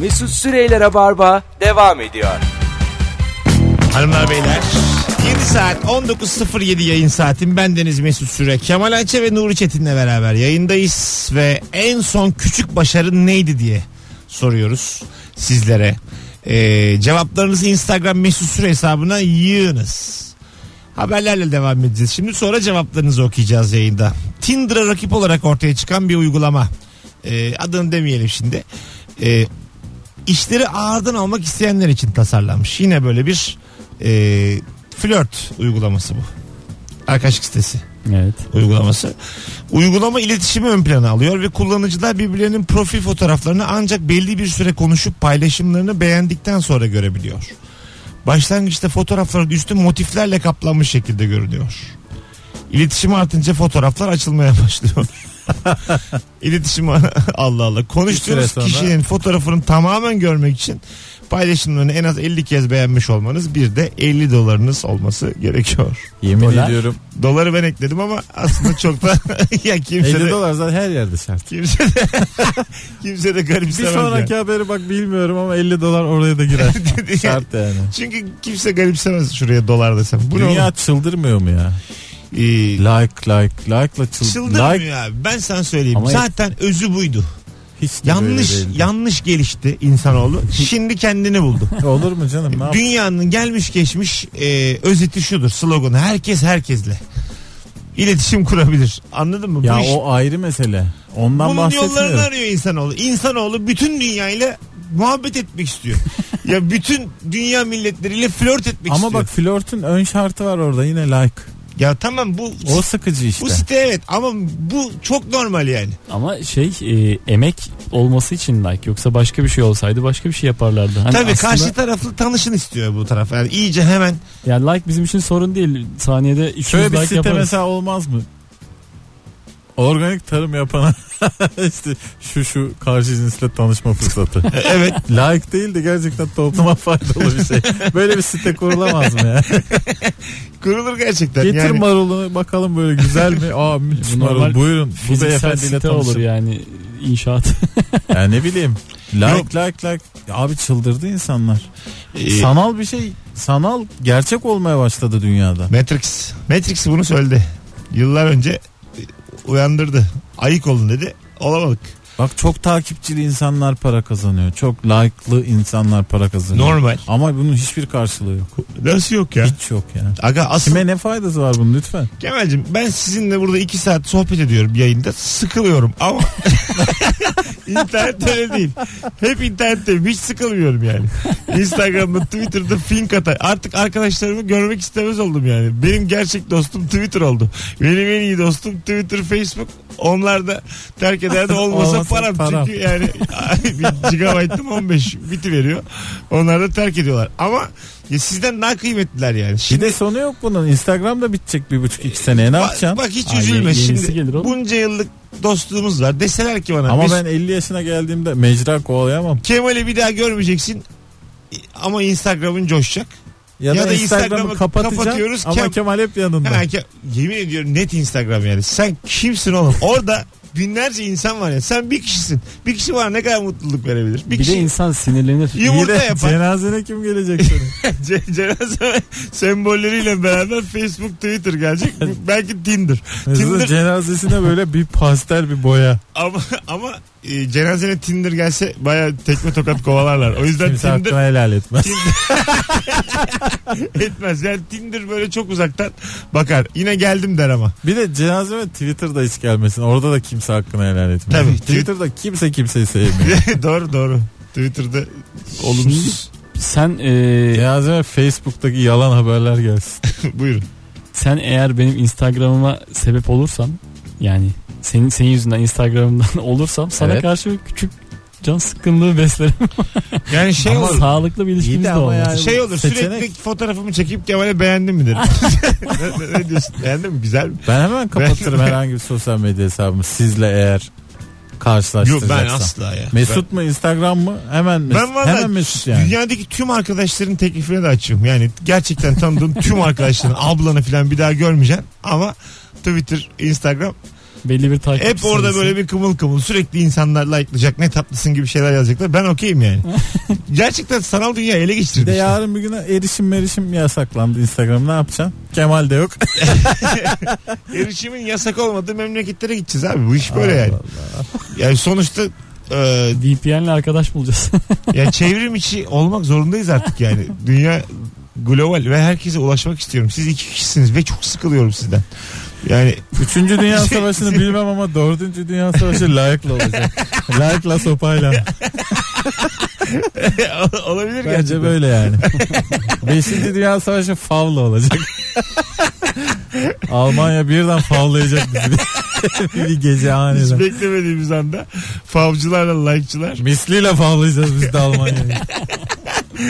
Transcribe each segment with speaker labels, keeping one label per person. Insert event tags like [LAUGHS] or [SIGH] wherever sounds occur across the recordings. Speaker 1: Mesut Süreyler'e barba devam ediyor.
Speaker 2: Hanımlar beyler 7 saat 19.07 yayın saatim. Ben Deniz Mesut Süre. Kemal Ayça ve Nuri Çetin'le beraber yayındayız ve en son küçük başarın neydi diye soruyoruz sizlere. Ee, cevaplarınızı Instagram Mesut Süre hesabına yığınız. Haberlerle devam edeceğiz. Şimdi sonra cevaplarınızı okuyacağız yayında. Tinder'a rakip olarak ortaya çıkan bir uygulama. Ee, adını demeyelim şimdi. Ee, işleri ağırdan almak isteyenler için tasarlanmış. Yine böyle bir e, flört uygulaması bu. Arkadaşlık sitesi
Speaker 3: Evet.
Speaker 2: uygulaması. Uygulama iletişimi ön plana alıyor ve kullanıcılar birbirlerinin profil fotoğraflarını ancak belli bir süre konuşup paylaşımlarını beğendikten sonra görebiliyor. Başlangıçta fotoğrafların üstü motiflerle kaplanmış şekilde görünüyor. İletişim artınca fotoğraflar açılmaya [LAUGHS] başlıyor. İletişim [LAUGHS] Allah Allah.
Speaker 3: Bir süre
Speaker 2: Konuştuğunuz
Speaker 3: sonra-
Speaker 2: kişinin fotoğrafını tamamen görmek için paylaşımlarını en az 50 kez beğenmiş olmanız bir de 50 dolarınız olması gerekiyor.
Speaker 3: Yemin
Speaker 2: Dolar. [LAUGHS]
Speaker 3: ediyorum.
Speaker 2: Doları ben ekledim ama aslında çok
Speaker 3: [LAUGHS]
Speaker 2: da ya
Speaker 3: 50
Speaker 2: kimse de,
Speaker 3: dolar zaten her yerde şart.
Speaker 2: kimse de [LAUGHS] kimse de
Speaker 3: Bir
Speaker 2: garipsemez.
Speaker 3: sonraki haberi bak bilmiyorum ama 50 dolar oraya
Speaker 2: [LAUGHS]
Speaker 3: da girer.
Speaker 2: yani.
Speaker 3: şart yani.
Speaker 2: Çünkü kimse garipsemez şuraya dolar desem. Bu ne
Speaker 3: Dünya
Speaker 2: oğlum?
Speaker 3: çıldırmıyor mu ya?
Speaker 2: Ee,
Speaker 3: Like like like'la çıldır.
Speaker 2: çıldırmıyor
Speaker 3: Like
Speaker 2: abi. Ben sana söyleyeyim.
Speaker 3: Ama-
Speaker 2: Zaten özü buydu.
Speaker 3: hiç de
Speaker 2: Yanlış
Speaker 3: böyle değildi.
Speaker 2: yanlış gelişti insanoğlu. Şimdi kendini buldu.
Speaker 3: [LAUGHS] Olur mu canım? Ne yap-
Speaker 2: Dünyanın gelmiş geçmiş e, özeti şudur sloganı. Herkes herkesle. İletişim kurabilir. Anladın mı? Bu
Speaker 3: ya
Speaker 2: iş-
Speaker 3: o ayrı mesele. Ondan
Speaker 2: Bunun yollarını
Speaker 3: bahsetmiyorum.
Speaker 2: arıyor insanoğlu. İnsanoğlu bütün dünyayla muhabbet etmek
Speaker 3: [LAUGHS]
Speaker 2: istiyor. ya bütün dünya milletleriyle flört etmek
Speaker 3: Ama
Speaker 2: istiyor.
Speaker 3: bak flörtün ön şartı var orada yine like.
Speaker 2: ya tamam bu
Speaker 3: O sıkıcı işte.
Speaker 2: bu site evet ama bu çok normal yani.
Speaker 4: Ama şey e, emek olması için like yoksa başka bir şey olsaydı başka bir şey yaparlardı. Hani
Speaker 2: Tabii
Speaker 4: aslında-
Speaker 2: karşı taraflı tanışın istiyor bu taraf. Yani iyice hemen
Speaker 4: Yani like bizim için sorun değil. Saniyede 200
Speaker 3: Şöyle bir
Speaker 4: like
Speaker 3: site
Speaker 4: yaparız.
Speaker 3: mesela olmaz mı? Organik tarım yapana [LAUGHS] işte şu şu karşı cinsle tanışma
Speaker 4: [LAUGHS]
Speaker 3: fırsatı.
Speaker 2: evet
Speaker 3: Like değil de gerçekten topluma faydalı bir şey. Böyle bir site kurulamaz mı ya?
Speaker 2: kurulur gerçekten.
Speaker 3: Getir
Speaker 2: yani
Speaker 3: marulunu bakalım böyle güzel mi? Aa müthiş
Speaker 4: Bu normal
Speaker 3: marul buyurun. Bu
Speaker 4: Fiziksel
Speaker 3: beyefendiyle
Speaker 4: site
Speaker 3: tanışın.
Speaker 4: olur yani inşaat.
Speaker 3: Ya ne bileyim. Like
Speaker 2: Yok.
Speaker 3: like like. Ya Abi çıldırdı insanlar.
Speaker 2: e,
Speaker 3: Sanal bir şey sanal gerçek olmaya başladı dünyada.
Speaker 2: Matrix. Matrix bunu söyledi. Yıllar önce e, uyandırdı. Ayık olun dedi. Olamadık.
Speaker 3: Bak çok takipçili insanlar para kazanıyor. Çok like'lı insanlar para kazanıyor.
Speaker 2: Normal.
Speaker 3: Ama bunun hiçbir karşılığı yok.
Speaker 2: Nasıl yok ya?
Speaker 3: Hiç yok yani.
Speaker 2: Aga asıl
Speaker 3: Kime ne faydası var bunun lütfen?
Speaker 2: Kemal'cim ben sizinle burada iki saat sohbet ediyorum yayında. Sıkılıyorum ama [LAUGHS] internet öyle değil. Hep internetteyim. Hiç sıkılmıyorum yani. Instagram'da, Twitter'da fink atar. Artık arkadaşlarımı görmek istemez oldum yani. Benim gerçek dostum Twitter oldu. Benim en iyi dostum Twitter, Facebook. Onlar da terk eder de olmasa
Speaker 3: Olmasa
Speaker 2: param.
Speaker 3: param.
Speaker 2: Çünkü yani bir gigabaytım 15 biti veriyor. Onlar da terk ediyorlar. Ama ya sizden daha kıymetliler yani.
Speaker 3: Bir
Speaker 2: Şimdi
Speaker 3: de sonu yok bunun. Instagram'da bitecek bir buçuk iki seneye ne
Speaker 2: Bak-
Speaker 3: yapacaksın?
Speaker 2: Bak hiç
Speaker 4: Ay,
Speaker 2: üzülme
Speaker 4: yenisi
Speaker 2: şimdi.
Speaker 4: gelir oğlum.
Speaker 2: Bunca yıllık dostluğumuz var. Deseler ki bana
Speaker 3: Ama
Speaker 2: biz
Speaker 3: ben 50 yaşına geldiğimde mecra kovalayamam.
Speaker 2: Kemal'i bir daha görmeyeceksin ama Instagram'ın coşacak.
Speaker 3: Ya,
Speaker 2: Ya
Speaker 3: da,
Speaker 2: da Instagram'ı
Speaker 3: Instagram'ı kapatacağım
Speaker 2: kapatıyoruz.
Speaker 3: ama
Speaker 2: Kem-
Speaker 3: Kemal hep yanında.
Speaker 2: Ha, ke- yemin ediyorum net Instagram yani. Sen kimsin oğlum? Orada binlerce insan var ya. Sen bir kişisin. Bir kişi bana ne kadar mutluluk verebilir? Bir,
Speaker 4: bir de
Speaker 2: kişi
Speaker 4: insan sinirlenir.
Speaker 3: İyi
Speaker 2: yumurta
Speaker 3: de
Speaker 2: yapar.
Speaker 3: cenazene kim gelecek senin?
Speaker 2: [LAUGHS] Ce- cenaze [LAUGHS] sembolleriyle beraber Facebook, Twitter gelecek. Belki Tinder.
Speaker 3: Mesela
Speaker 2: Tinder-
Speaker 3: cenazesine böyle bir pastel bir boya.
Speaker 2: Ama ama e, cenazene Tinder gelse bayağı tekme tokat kovalarlar. O yüzden
Speaker 3: Kimse
Speaker 2: Tinder
Speaker 3: hakkına helal etmez.
Speaker 2: [LAUGHS] etmez. Yani Tinder böyle çok uzaktan bakar. Yine geldim der ama. [LAUGHS]
Speaker 3: Bir de cenazeme Twitter'da hiç gelmesin. Orada da kimse hakkına helal etmiyor.
Speaker 2: Tabii.
Speaker 3: Twitter'da kimse kimseyi sevmiyor.
Speaker 2: doğru doğru. Twitter'da [LAUGHS] olumsuz.
Speaker 4: Sen e,
Speaker 3: cenazeme Facebook'taki yalan haberler gelsin.
Speaker 2: Buyurun.
Speaker 4: sen eğer benim Instagram'ıma sebep olursan yani senin senin yüzünden Instagram'dan [LAUGHS] olursam sana
Speaker 3: Evet.
Speaker 4: karşı bir küçük can sıkkınlığı beslerim.
Speaker 2: Yani şey
Speaker 4: ama
Speaker 2: olur.
Speaker 4: sağlıklı bir ilişkimiz de
Speaker 3: ama
Speaker 4: olmaz.
Speaker 3: yani-
Speaker 2: Şey olur
Speaker 3: Seçenek.
Speaker 2: sürekli fotoğrafımı çekip Kemal'e beğendin
Speaker 3: [LAUGHS]
Speaker 2: mi derim. ne, ne- ne diyorsun? Beğendin mi? Güzel mi?
Speaker 3: Ben hemen kapatırım
Speaker 2: Ben-
Speaker 3: herhangi bir sosyal medya hesabımı sizle eğer
Speaker 2: Yok ben
Speaker 3: karşılaştıracaksam.
Speaker 2: asla ya.
Speaker 3: Mesut mu Instagram mı? Hemen
Speaker 2: Ben,
Speaker 3: Mesut.
Speaker 2: ben valla
Speaker 3: hemen Mesut yani.
Speaker 2: dünyadaki tüm arkadaşların teklifine de açığım. Yani gerçekten [LAUGHS] tanıdığım tüm arkadaşların ablanı falan bir daha görmeyeceksin. Ama Twitter, Instagram
Speaker 4: belli bir takip
Speaker 2: Hep orada böyle bir kımıl kımıl sürekli insanlar like'layacak ne tatlısın gibi şeyler yazacaklar. Ben okeyim
Speaker 3: [LAUGHS]
Speaker 2: yani. Gerçekten sanal dünya ele
Speaker 3: Bir de
Speaker 2: geçtirdi. işte.
Speaker 3: yarın bir güne erişim merişim yasaklandı Instagram ne yapacaksın? Kemal de yok.
Speaker 2: Erişimin yasak olmadığı memleketlere gideceğiz abi. Bu iş böyle yani.
Speaker 3: Allah Allah.
Speaker 2: Yani sonuçta e,
Speaker 4: VPN'le arkadaş bulacağız.
Speaker 2: ya çevrim içi olmak zorundayız artık yani. Dünya global ve herkese ulaşmak istiyorum. Siz iki kişisiniz ve çok sıkılıyorum sizden. Yani [LAUGHS]
Speaker 3: Üçüncü Dünya Savaşı'nı bilmem ama dördüncü Dünya Savaşı layıkla olacak.
Speaker 2: [LAUGHS]
Speaker 3: layıkla sopayla.
Speaker 2: olabilir
Speaker 3: Bence
Speaker 2: gerçekten. [LAUGHS]
Speaker 3: böyle yani. Beşinci Dünya Savaşı favla olacak. Almanya birden favlayacak bizi. [LAUGHS] bir gece
Speaker 2: Hiç
Speaker 3: aniden.
Speaker 2: beklemediğimiz anda favcılarla like'çılar.
Speaker 3: Misliyle favlayacağız biz de Almanya'yı.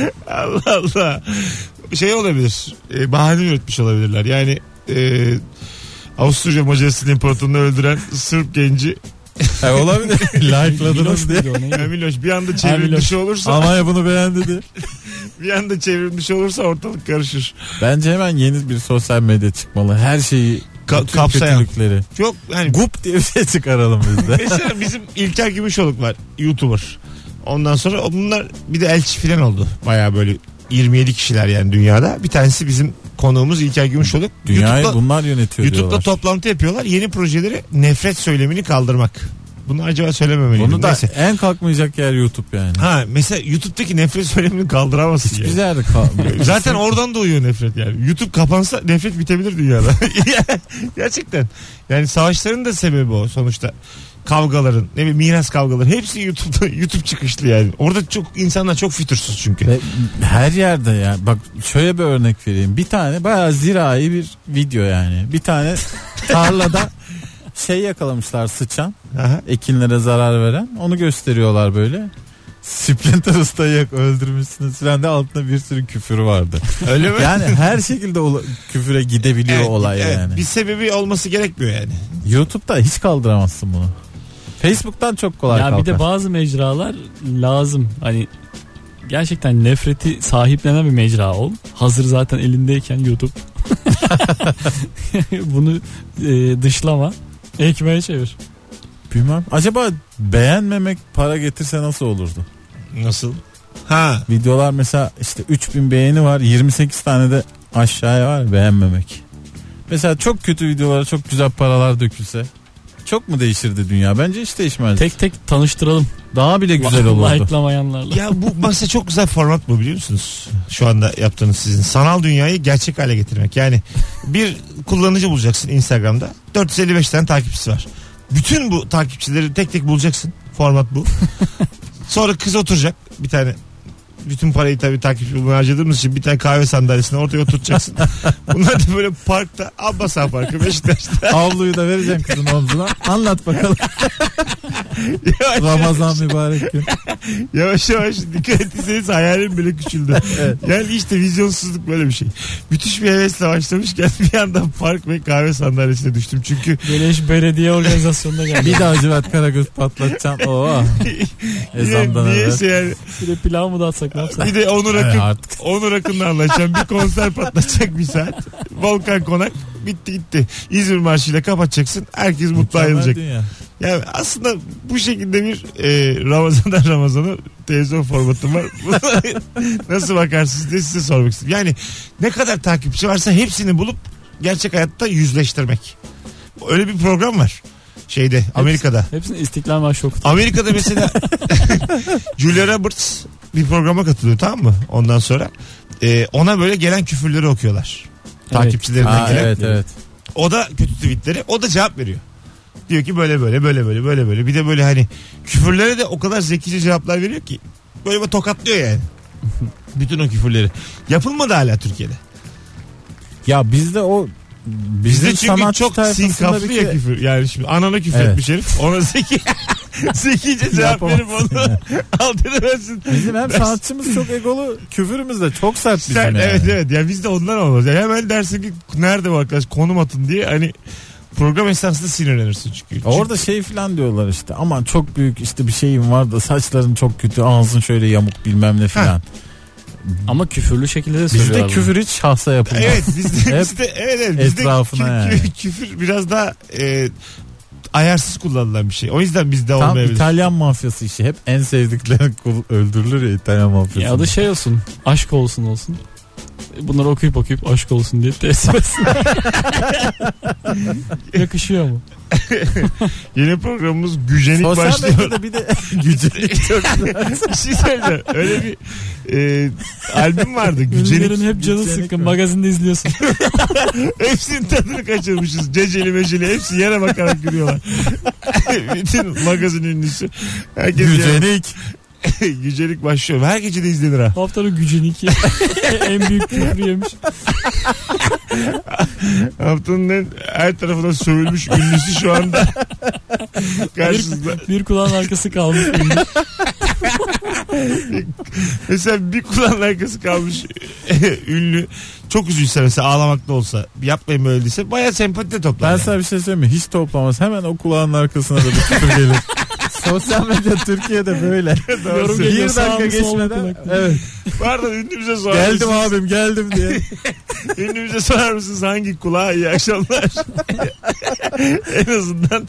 Speaker 2: [LAUGHS] Allah Allah. Şey olabilir. E, bahane üretmiş olabilirler. Yani e, Avusturya Macaristan İmparatorunu öldüren Sırp genci
Speaker 3: E, olabilir. [LAUGHS] Like'ladınız diye.
Speaker 2: Miloş bir anda çevrim dışı olursa
Speaker 3: Almanya bunu beğendi diye.
Speaker 2: bir anda çevrim dışı olursa ortalık karışır.
Speaker 3: Bence hemen yeni bir sosyal medya çıkmalı. Her şeyi
Speaker 2: Ka-
Speaker 3: bütün
Speaker 2: kapsayan.
Speaker 3: kötülükleri.
Speaker 2: Çok hani
Speaker 3: Gup diye bir şey çıkaralım
Speaker 2: [LAUGHS]
Speaker 3: biz de.
Speaker 2: mesela bizim İlker Gümüşoluk var YouTuber. Ondan sonra o- bunlar bir de elçi falan oldu. Baya böyle 27 kişiler yani dünyada. Bir tanesi bizim konuğumuz İlker Gümüşoluk.
Speaker 3: Dünyayı
Speaker 2: YouTube'da-
Speaker 3: bunlar yönetiyor
Speaker 2: YouTube'da
Speaker 3: diyorlar.
Speaker 2: toplantı yapıyorlar. Yeni projeleri nefret söylemini kaldırmak. Bunu acaba söylememeliyim.
Speaker 3: Bunu da
Speaker 2: Neyse.
Speaker 3: en kalkmayacak yer YouTube yani.
Speaker 2: Ha mesela YouTube'daki nefret söylemini kaldıramazsın.
Speaker 3: Hiçbir
Speaker 2: yani.
Speaker 3: yerde kalmıyor.
Speaker 2: Zaten oradan doğuyor nefret yani. YouTube kapansa nefret bitebilir dünyada. [LAUGHS] Gerçekten. Yani savaşların da sebebi o sonuçta. Kavgaların, ne bileyim miras kavgaları hepsi YouTube'da [LAUGHS] YouTube çıkışlı yani. Orada çok insanlar çok fütursuz çünkü.
Speaker 3: Ve her yerde yani. Bak şöyle bir örnek vereyim. Bir tane bayağı zirai bir video yani.
Speaker 2: [LAUGHS]
Speaker 3: Bir tane tarlada şey yakalamışlar sıçan.
Speaker 2: Aha.
Speaker 3: Ekinlere zarar veren. Onu gösteriyorlar böyle. Splinter Usta'yı yak- öldürmüşsünüz falan de altında bir sürü küfür vardı.
Speaker 2: Öyle mi?
Speaker 3: Yani her şekilde ola- küfüre gidebiliyor
Speaker 2: Evet,
Speaker 3: olay
Speaker 2: evet.
Speaker 3: yani.
Speaker 2: Bir sebebi olması gerekmiyor yani.
Speaker 3: YouTube'da hiç kaldıramazsın bunu. Facebook'tan çok [LAUGHS] kolay
Speaker 4: ya
Speaker 3: kalkar.
Speaker 4: bir de bazı mecralar lazım. Hani gerçekten nefreti sahiplenen bir mecra ol. Hazır zaten elindeyken YouTube. [LAUGHS] Bunu e, dışlama. Ekmeğe çevir.
Speaker 3: Bilmem. Acaba beğenmemek para getirse nasıl olurdu?
Speaker 2: Nasıl? Ha.
Speaker 3: Videolar mesela işte 3000 beğeni var 28 tane de aşağıya var beğenmemek. Mesela çok kötü videolara çok güzel paralar dökülse çok mu değişirdi dünya? Bence hiç değişmez.
Speaker 4: Tek tek tanıştıralım.
Speaker 3: Daha bile
Speaker 4: [LAUGHS]
Speaker 3: güzel olurdu.
Speaker 2: [LAUGHS]
Speaker 4: Like'lamayanlarla.
Speaker 2: Ya bu mesela çok güzel format bu biliyor musunuz? Şu anda yaptığınız sizin. Sanal dünyayı gerçek hale getirmek. Yani bir kullanıcı bulacaksın Instagram'da. 455 tane takipçisi var. Bütün bu takipçileri tek tek bulacaksın. Format bu. Sonra kız oturacak bir tane bütün parayı tabii takipçi bulmaya harcadığımız için bir tane kahve sandalyesine ortaya oturacaksın. Bunlar da böyle parkta Abbasa Parkı Beşiktaş'ta.
Speaker 3: Avluyu da vereceğim kızın omzuna.
Speaker 2: [LAUGHS]
Speaker 3: Anlat bakalım.
Speaker 2: Yavaş-
Speaker 3: Ramazan mübarek gün.
Speaker 2: Yavaş yavaş dikkat etseniz hayalim bile küçüldü. Yani işte vizyonsuzluk böyle bir şey. Müthiş bir hevesle başlamışken bir anda park ve kahve sandalyesine düştüm. Çünkü
Speaker 4: Beleş
Speaker 3: [LAUGHS]
Speaker 4: belediye organizasyonuna geldi.
Speaker 3: Bir daha Civet Karagöz
Speaker 2: [LAUGHS]
Speaker 3: patlatacağım. Oo.
Speaker 2: niye, şey
Speaker 3: Ezandan
Speaker 2: niyeyse
Speaker 3: E, evvel.
Speaker 2: yani.
Speaker 4: bir de pilav mı da atsak ne yapsak?
Speaker 2: Bir de Onur
Speaker 3: Evet,
Speaker 2: Akın,
Speaker 3: artık.
Speaker 2: Onur Akın'la anlaşacağım. Bir konser patlatacak bir saat. Volkan Konak bitti gitti. İzmir Marşı'yla kapatacaksın. Herkes mutlu ayrılacak.
Speaker 3: Dünya.
Speaker 2: Yani aslında bu şekilde bir e, Ramazan'dan [LAUGHS] Ramazan'a televizyon formatım var. [LAUGHS] Nasıl bakarsınız diye size sormak istedim. Yani ne kadar takipçi varsa hepsini bulup gerçek hayatta yüzleştirmek. Öyle bir program var. Şeyde Amerika'da.
Speaker 4: Hepsini İstiklal Marşı okut.
Speaker 2: Amerika'da
Speaker 3: [LAUGHS]
Speaker 2: mesela Julia Roberts bir programa katılıyor tamam mı? Ondan sonra e, ona böyle gelen küfürleri okuyorlar.
Speaker 4: Evet.
Speaker 2: Takipçilerinden
Speaker 3: Aa,
Speaker 2: gelen.
Speaker 3: evet evet.
Speaker 2: O da kötü tweetleri o da cevap veriyor. Diyor ki böyle böyle böyle böyle böyle böyle. Bir de böyle hani küfürlere de o kadar zekice cevaplar veriyor ki. Böyle bir tokatlıyor yani. Bütün o küfürleri. Yapılmadı hala Türkiye'de.
Speaker 3: Ya bizde o
Speaker 2: Bizde
Speaker 3: bizim
Speaker 2: çünkü
Speaker 3: sanatçı
Speaker 2: çok
Speaker 3: tayfasında
Speaker 2: sinkaflı
Speaker 3: bir
Speaker 2: ya
Speaker 3: kere-
Speaker 2: küfür. Yani şimdi anana küfür
Speaker 3: Evet.
Speaker 2: etmiş herif. Ona zeki, [LAUGHS] zekice cevap verip onu [LAUGHS] alt edemezsin. [LAUGHS]
Speaker 3: Bizim hem sanatçımız çok egolu, küfürümüz de çok sert bizim.
Speaker 2: Sen,
Speaker 3: yani.
Speaker 2: evet evet ya bizde ondan olmaz. Yani hemen dersin ki nerede bu arkadaş konum atın diye hani program esnasında sinirlenirsin çünkü.
Speaker 3: Orada şey filan diyorlar işte aman çok büyük işte bir şeyim var da saçların çok kötü ağzın şöyle yamuk bilmem ne filan.
Speaker 4: Ama küfürlü şekilde de söylüyorlar.
Speaker 3: Bizde
Speaker 4: bunu.
Speaker 3: küfür hiç şahsa yapılmaz.
Speaker 2: Evet bizde,
Speaker 3: Hep
Speaker 2: bizde evet, evet bizde
Speaker 3: etrafına
Speaker 2: kü-
Speaker 3: yani.
Speaker 2: kü- küfür biraz daha e, ayarsız kullanılan bir şey. O yüzden bizde
Speaker 3: Tam
Speaker 2: olmayabilir.
Speaker 3: İtalyan mafyası işi. Hep en sevdikleri kul- öldürülür ya İtalyan mafyası.
Speaker 4: Ya da şey olsun. Aşk olsun olsun. Bunları okuyup okuyup aşk olsun diye
Speaker 3: [LAUGHS]
Speaker 4: teslim etsin. Yakışıyor mu?
Speaker 2: Yeni programımız gücenip
Speaker 3: Sosyal [LAUGHS]
Speaker 2: başlıyor.
Speaker 3: medyada bir de
Speaker 2: gücenip [LAUGHS] çok Bir şey söyleyeceğim. Öyle bir e, albüm vardı.
Speaker 4: Ünlülerin
Speaker 2: Gücenip.
Speaker 4: hep canı
Speaker 3: Gücenik
Speaker 4: sıkkın.
Speaker 3: mi?
Speaker 4: Magazinde izliyorsun.
Speaker 2: [LAUGHS] Hepsinin tadını kaçırmışız. Ceceli meceli hepsi yere bakarak gülüyorlar. Bütün magazin ünlüsü. Herkes Gücenik.
Speaker 3: gücenik.
Speaker 2: [LAUGHS] Gücenik başlıyor. Her gece de izlenir ha.
Speaker 3: [LAUGHS]
Speaker 4: Haftanın gücenik. en büyük küfrü yemiş.
Speaker 2: Haftanın en, her tarafına sövülmüş ünlüsü şu anda. Karşınızda.
Speaker 4: Bir kulağın arkası kalmış.
Speaker 2: Mesela bir kulağın arkası kalmış [LAUGHS] ünlü. Çok üzülse mesela ağlamakta olsa. Yapmayın böyle dese. Baya sempati de toplar.
Speaker 3: Ben
Speaker 2: yani.
Speaker 3: sana bir şey söyleyeyim mi? Hiç toplamaz. Hemen o kulağın arkasına da bir küfür gelir. [LAUGHS] Sosyal medya Türkiye'de böyle.
Speaker 2: Doğru
Speaker 4: Yorum
Speaker 2: söylüyorsun.
Speaker 4: geliyor,
Speaker 3: bir
Speaker 4: sağ
Speaker 3: dakika
Speaker 4: mı, sol mu
Speaker 3: geçmeden.
Speaker 4: kulak?
Speaker 3: Evet.
Speaker 2: Pardon ünlümüze sorar
Speaker 3: [LAUGHS] geldim
Speaker 2: mısınız?
Speaker 3: abim geldim diye.
Speaker 2: Ünlümüze sorar mısınız hangi kulağa iyi akşamlar? en azından.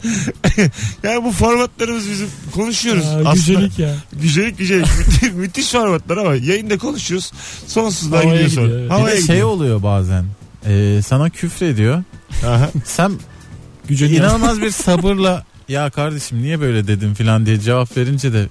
Speaker 2: [LAUGHS] yani bu formatlarımız bizim konuşuyoruz.
Speaker 4: Aa,
Speaker 2: aslında.
Speaker 4: gücelik ya.
Speaker 2: Gücelik gücelik. Müthiş, müthiş formatlar ama yayında konuşuyoruz. Sonsuzluğa
Speaker 4: Havaya
Speaker 2: gidiyor sonra.
Speaker 4: gidiyor, evet.
Speaker 3: Bir
Speaker 2: Havaya
Speaker 3: de şey
Speaker 2: gidiyor.
Speaker 3: oluyor bazen. Ee, sana küfür ediyor.
Speaker 2: Aha. [LAUGHS]
Speaker 3: Sen
Speaker 4: Gücenik.
Speaker 3: inanılmaz bir sabırla ya kardeşim niye böyle dedim filan diye cevap verince de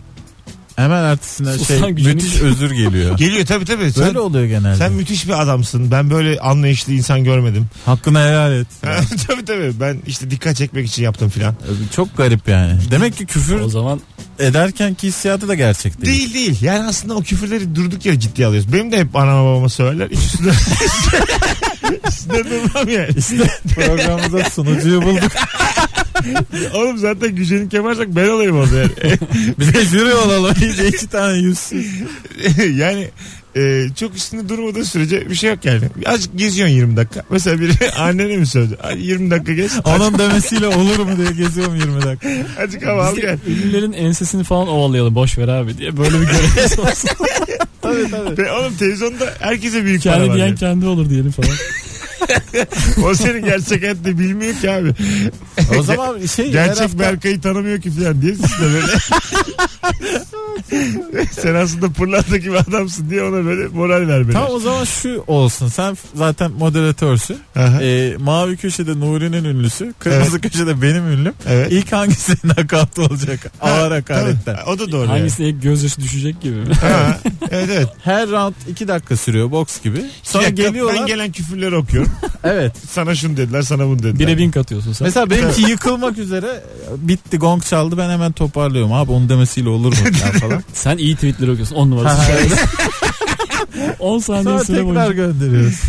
Speaker 3: hemen ertesine
Speaker 4: Sus
Speaker 3: şey
Speaker 4: lan gücenik.
Speaker 3: müthiş özür geliyor.
Speaker 2: Geliyor tabii tabii. [LAUGHS] Sen,
Speaker 3: Böyle oluyor genelde.
Speaker 2: sen müthiş bir adamsın. Ben böyle anlayışlı insan görmedim.
Speaker 3: Hakkını helal et.
Speaker 2: [LAUGHS] tabii tabii. Ben işte dikkat çekmek için yaptım filan.
Speaker 3: Çok garip yani. Demek ki küfür
Speaker 4: O zaman
Speaker 3: ederken ki hissiyatı da gerçek değil.
Speaker 2: Değil değil. Yani aslında o küfürleri durduk yere ciddiye alıyoruz. Benim de hep anama babama söylerler. Hiç üstüne... [LAUGHS] üstüne durmam yani.
Speaker 3: İşte programımıza
Speaker 2: [LAUGHS]
Speaker 3: sunucuyu bulduk.
Speaker 2: Oğlum zaten gücenik yaparsak ben olayım o zaman.
Speaker 3: Bir de jüri olalım. İyice iki tane yüzsüz.
Speaker 2: [LAUGHS] yani e, çok üstünde durmadığı sürece bir şey yok yani. Azıcık geziyorsun 20 dakika. Mesela biri [LAUGHS] annene mi söyledi? "Ay, 20 dakika gez.
Speaker 3: Onun demesiyle olur mu diye geziyorum 20 dakika.
Speaker 2: Azıcık hava al
Speaker 4: biz de
Speaker 2: gel.
Speaker 4: ünlülerin ensesini falan ovalayalım. Boş ver abi diye. Böyle
Speaker 3: [LAUGHS]
Speaker 4: bir görevimiz olsun.
Speaker 2: Ve oğlum televizyonda herkese büyük para
Speaker 4: Kendi
Speaker 2: var.
Speaker 4: diyen
Speaker 2: yani.
Speaker 4: kendi olur diyelim falan.
Speaker 2: O senin gerçek hayatta bilmiyor ki abi.
Speaker 3: O zaman şey [LAUGHS] her
Speaker 2: Gerçek
Speaker 3: hafta-
Speaker 2: Berkay'ı tanımıyor ki falan diye siz de
Speaker 3: [LAUGHS]
Speaker 2: böyle. Sen aslında pırlanta gibi adamsın diye ona böyle moral vermeli.
Speaker 3: Tamam o zaman şu olsun. Sen zaten moderatörsün.
Speaker 2: Aha,
Speaker 3: Ee, mavi köşede Nuri'nin ünlüsü. Kırmızı köşede benim ünlüm.
Speaker 2: evet.
Speaker 3: İlk [LAUGHS] hangisinin nakavtı olacak? Ağır hakaretten.
Speaker 2: Ha, O da doğru. yani.
Speaker 4: Hangisine ilk gözyaşı düşecek gibi.
Speaker 2: Ha, evet evet.
Speaker 3: Her round 2 dakika sürüyor boks gibi. [LAUGHS] Sonra
Speaker 2: Bir dakika,
Speaker 3: geliyorlar.
Speaker 2: Ben gelen küfürleri okuyorum.
Speaker 3: evet.
Speaker 2: Sana şunu dediler sana bunu dediler.
Speaker 4: Bire bin katıyorsun sen.
Speaker 3: Mesela benimki yıkılmak üzere bitti gong çaldı ben hemen toparlıyorum abi onun demesiyle olur mu ya
Speaker 2: [LAUGHS]
Speaker 3: falan.
Speaker 4: Sen iyi tweetleri okuyorsun. 10
Speaker 3: Ha,
Speaker 4: numarası. [LAUGHS] 10 saniye
Speaker 3: Sonra
Speaker 4: süre
Speaker 3: tekrar
Speaker 4: boyunca.
Speaker 3: gönderiyoruz.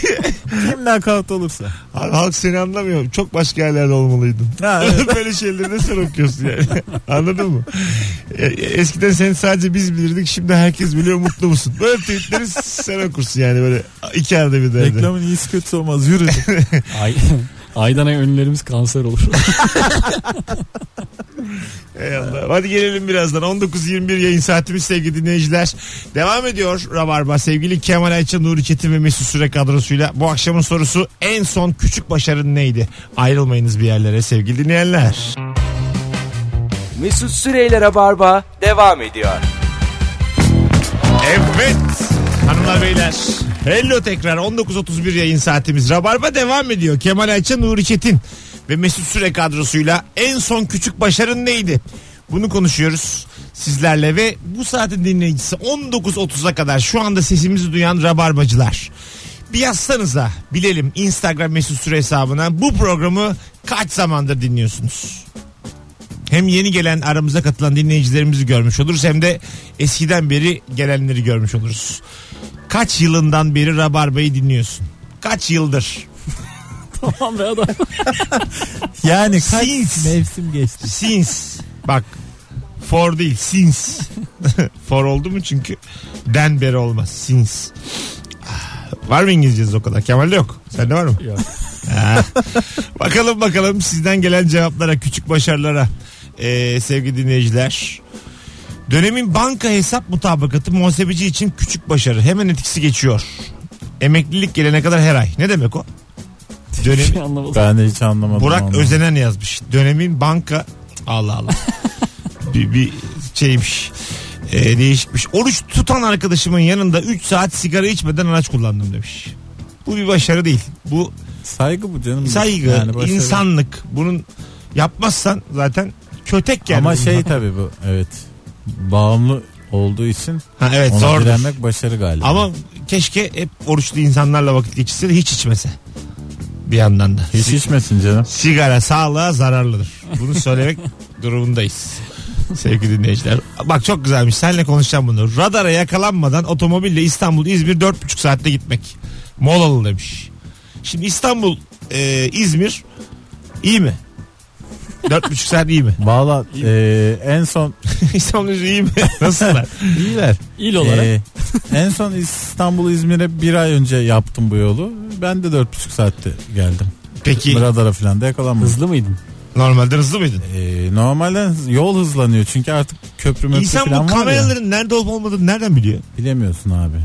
Speaker 3: [LAUGHS] Kim nakavt olursa.
Speaker 2: Abi halk seni anlamıyor. Çok başka yerlerde olmalıydın.
Speaker 3: Ha,
Speaker 2: [LAUGHS]
Speaker 3: evet.
Speaker 2: Böyle şeyleri ne sen okuyorsun yani? Anladın mı? E, e, Eskiden seni sadece biz bilirdik. Şimdi herkes biliyor mutlu musun? Böyle tweetleri sen okursun yani böyle iki arada bir derdi.
Speaker 3: Reklamın iyisi kötüsü olmaz
Speaker 2: [LAUGHS]
Speaker 3: yürü.
Speaker 4: Ay, aydan ay ünlülerimiz
Speaker 3: [LAUGHS]
Speaker 4: kanser olur.
Speaker 2: Ey Allah. Hadi gelelim birazdan. 19.21 yayın saatimiz sevgili dinleyiciler. Devam ediyor Rabarba. Sevgili Kemal Ayça, Nuri Çetin ve Mesut Süre kadrosuyla. Bu akşamın sorusu en son küçük başarın neydi? Ayrılmayınız bir yerlere sevgili dinleyenler.
Speaker 1: Mesut Süreyler'e barba devam ediyor.
Speaker 2: Evet hanımlar beyler. Hello tekrar 19.31 yayın saatimiz. Rabarba devam ediyor. Kemal Ayça, Nuri Çetin ve Mesut Süre kadrosuyla en son küçük başarın neydi? Bunu konuşuyoruz sizlerle ve bu saatin dinleyicisi 19.30'a kadar şu anda sesimizi duyan Rabarbacılar. Bir yazsanıza bilelim Instagram Mesut Süre hesabına bu programı kaç zamandır dinliyorsunuz? Hem yeni gelen aramıza katılan dinleyicilerimizi görmüş oluruz hem de eskiden beri gelenleri görmüş oluruz. Kaç yılından beri Rabarba'yı dinliyorsun? Kaç yıldır?
Speaker 4: tamam be adam.
Speaker 3: Yani kaç
Speaker 2: Since.
Speaker 3: mevsim
Speaker 2: [LAUGHS]
Speaker 3: geçti.
Speaker 2: Since. Bak for değil since. [LAUGHS] for oldu mu çünkü den beri olmaz. Since. Ah, Var mı İngilizceniz o kadar? Kemal'de yok. Sende var mı?
Speaker 4: Yok.
Speaker 2: Ha. bakalım bakalım sizden gelen cevaplara, küçük başarılara Ee, sevgili dinleyiciler. Dönemin banka hesap mutabakatı muhasebeci için küçük başarı. Hemen etkisi geçiyor. Emeklilik gelene kadar her ay. Ne demek o? Dönemin
Speaker 4: şey anlamadım.
Speaker 3: Ben de hiç anlamadım.
Speaker 2: Burak
Speaker 3: vallahi.
Speaker 2: Özenen yazmış. Dönemin banka Allah
Speaker 3: [LAUGHS]
Speaker 2: Allah. bir, bir şeymiş. Ee, değişikmiş. Oruç tutan arkadaşımın yanında 3 saat sigara içmeden araç kullandım demiş. Bu bir başarı değil. Bu
Speaker 3: Saygı bu canım.
Speaker 2: saygı,
Speaker 3: başarı.
Speaker 2: insanlık. Bunun yapmazsan zaten kötek yani.
Speaker 3: Ama
Speaker 2: bundan.
Speaker 3: şey tabii bu evet. Bağımlı olduğu için
Speaker 2: ha, evet
Speaker 3: ona
Speaker 2: E, zordur.
Speaker 3: direnmek başarı galiba.
Speaker 2: Ama keşke hep oruçlu insanlarla vakit geçirse de hiç içmese. Bir yandan da.
Speaker 3: hiç içmesin canım.
Speaker 2: Sigara sağlığa zararlıdır. Bunu
Speaker 3: [LAUGHS]
Speaker 2: söylemek durumundayız. Sevgili dinleyiciler. Bak çok güzelmiş. Seninle konuşacağım bunu. Radara yakalanmadan otomobille İstanbul, İzmir 4,5 saatte gitmek. Molalı demiş. Şimdi İstanbul, e, İzmir iyi mi? 4,5 saat iyi mi?
Speaker 3: [LAUGHS] Valla e, en son
Speaker 2: İstanbul, İzmir iyi mi?
Speaker 3: [LAUGHS]
Speaker 2: Nasıllar?
Speaker 3: iyiler.
Speaker 4: İl olarak
Speaker 3: E, en son İstanbul İzmir'e bir ay önce yaptım bu yolu. Ben de dört buçuk saatte geldim.
Speaker 2: Peki
Speaker 3: Radara falan da yakalanmadım.
Speaker 4: hızlı mıydın?
Speaker 2: normalde hızlı mıydın?
Speaker 3: E, normalden yol hızlanıyor çünkü artık köprü möprü
Speaker 2: İnsan
Speaker 3: falan
Speaker 2: bu
Speaker 3: var ya.
Speaker 2: kameraların nerede olup olmadığını nereden biliyor?
Speaker 3: Bilemiyorsun abi.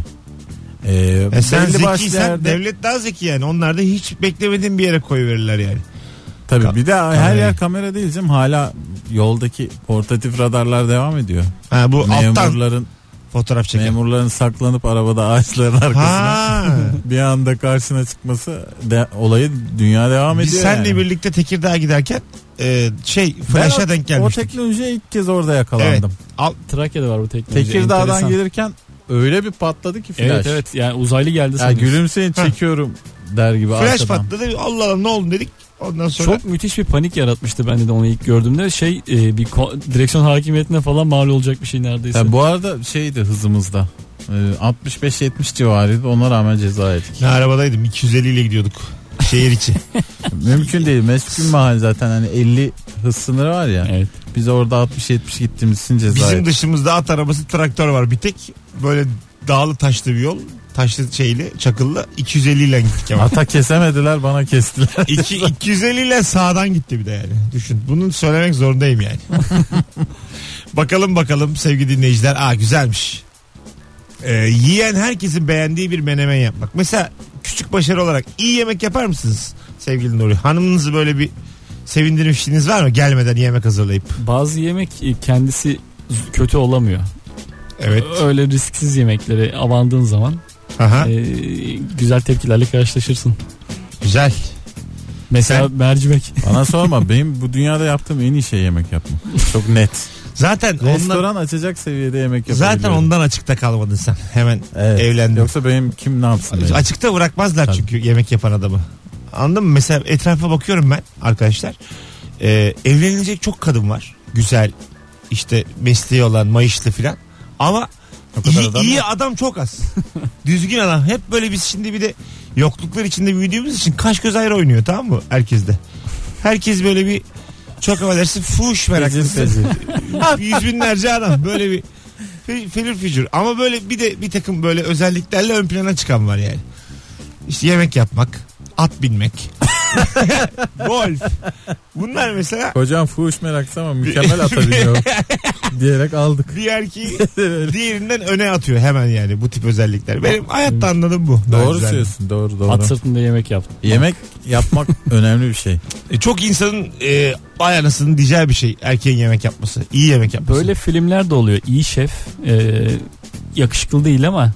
Speaker 3: E,
Speaker 2: E sen
Speaker 3: belli başlı
Speaker 2: zekiysen
Speaker 3: yerde-
Speaker 2: devlet daha zeki yani. Onlar da hiç beklemediğin bir yere koyuverirler yani.
Speaker 3: Tabii
Speaker 2: Ka-
Speaker 3: bir de her
Speaker 2: kamerayı.
Speaker 3: yer kamera değil canım. Hala yoldaki portatif radarlar devam ediyor.
Speaker 2: Ha, bu alttan
Speaker 3: Memurların
Speaker 2: fotoğraf çeken.
Speaker 3: memurların saklanıp arabada ağaçların arkasına
Speaker 2: Ha.
Speaker 3: bir anda karşına çıkması de, olayı dünya devam ediyor.
Speaker 2: Biz senle
Speaker 3: yani.
Speaker 2: birlikte Tekirdağ'a giderken e, şey
Speaker 3: Ben
Speaker 2: flash'a
Speaker 3: o-
Speaker 2: denk
Speaker 3: O
Speaker 2: gelmiştik.
Speaker 3: teknolojiye ilk kez orada yakalandım.
Speaker 4: Trakya'da var bu teknoloji.
Speaker 3: Tekirdağ'dan
Speaker 4: enteresan.
Speaker 3: gelirken öyle bir patladı ki flash.
Speaker 4: Evet evet yani uzaylı geldi
Speaker 3: Ya
Speaker 4: sanıyorsun.
Speaker 3: gülümseyin
Speaker 2: Heh.
Speaker 3: çekiyorum der gibi
Speaker 2: Flash
Speaker 3: arkadan.
Speaker 2: patladı. Allah Allah ne oldu dedik. Ondan sonra
Speaker 4: Çok müthiş bir panik yaratmıştı bende de onu ilk gördüğümde. Şey e, bir ko- direksiyon hakimiyetine falan mal olacak bir şey neredeyse.
Speaker 3: Ya bu arada şeydi hızımızda. Ee, 65-70 civarıydı. Ona rağmen
Speaker 2: [LAUGHS]
Speaker 3: ceza yedik.
Speaker 2: ne arabadaydım 250 ile gidiyorduk. Şehir
Speaker 3: [LAUGHS]
Speaker 2: içi.
Speaker 3: Mümkün değil. Meskun mahal zaten hani 50 hız sınırı var ya.
Speaker 4: Evet.
Speaker 3: Biz orada 60-70 gittiğimiz için ceza
Speaker 2: Bizim
Speaker 3: yedik.
Speaker 2: dışımızda at arabası traktör var bir tek. Böyle dağlı taşlı bir yol. Taşlı şeyli çakıllı 250 ile gittik ama.
Speaker 3: Ata kesemediler bana kestiler.
Speaker 2: İki, 250 ile sağdan gitti bir de yani. Düşün. Bunu söylemek zorundayım yani.
Speaker 3: [LAUGHS]
Speaker 2: bakalım bakalım sevgili dinleyiciler. Aa güzelmiş. Ee, yiyen herkesin beğendiği bir menemen yapmak. Mesela küçük başarı olarak iyi yemek yapar mısınız sevgili Nuri? Hanımınızı böyle bir sevindirmişliğiniz var mı? Gelmeden yemek hazırlayıp.
Speaker 4: Bazı yemek e, kendisi z- kötü olamıyor.
Speaker 2: Evet.
Speaker 4: Öyle risksiz yemekleri avandığın zaman
Speaker 3: Ee,
Speaker 2: Aha,
Speaker 4: e, güzel tepkilerle karşılaşırsın.
Speaker 2: güzel.
Speaker 4: Mesela mercimek.
Speaker 3: [LAUGHS] bana sorma benim bu dünyada yaptığım en iyi şey yemek yapmak. Çok net.
Speaker 2: Zaten ondan,
Speaker 3: Restoran açacak seviyede yemek yapabiliyorum.
Speaker 2: zaten ondan açıkta kalmadın sen. Hemen
Speaker 3: Evet.
Speaker 2: evlendin.
Speaker 3: Yoksa benim kim ne yapsın? beni?
Speaker 2: Açıkta bırakmazlar
Speaker 3: Tabii.
Speaker 2: çünkü yemek yapan adamı. Anladın mı? Mesela etrafa bakıyorum ben arkadaşlar. Ee, evlenilecek çok kadın var. Güzel işte mesleği olan mayışlı filan. Ama
Speaker 3: O kadar
Speaker 2: iyi,
Speaker 3: adam
Speaker 2: iyi
Speaker 3: yok.
Speaker 2: adam çok
Speaker 3: [LAUGHS]
Speaker 2: az. Düzgün adam. Hep böyle biz şimdi bir de yokluklar içinde büyüdüğümüz için kaş göz ayrı oynuyor tamam mı? Herkes de. Herkes böyle bir çok affedersin fuş meraklısı.
Speaker 3: Feci,
Speaker 2: [LAUGHS] Yüz binlerce adam böyle bir fe- felür fücür. Ama böyle bir de bir takım böyle özelliklerle ön plana çıkan var yani. İşte yemek yapmak, at binmek, [LAUGHS] golf. Bunlar mesela
Speaker 3: Hocam fuhuş meraklısı
Speaker 2: [LAUGHS]
Speaker 3: ama mükemmel atabiliyor. diyerek aldık.
Speaker 2: bir erkeği diğerinden öne atıyor hemen yani bu tip özellikler. Benim hayatta anladığım bu. Ben
Speaker 3: doğru
Speaker 2: güzel.
Speaker 3: söylüyorsun doğru doğru.
Speaker 4: At sırtında yemek yaptım.
Speaker 3: Yemek
Speaker 2: [LAUGHS]
Speaker 3: yapmak önemli bir şey.
Speaker 2: E, Çok insanın e, vay anasının diyeceği bir şey erkeğin yemek yapması. iyi yemek yapması.
Speaker 4: Böyle filmler de oluyor. İyi şef e, yakışıklı değil ama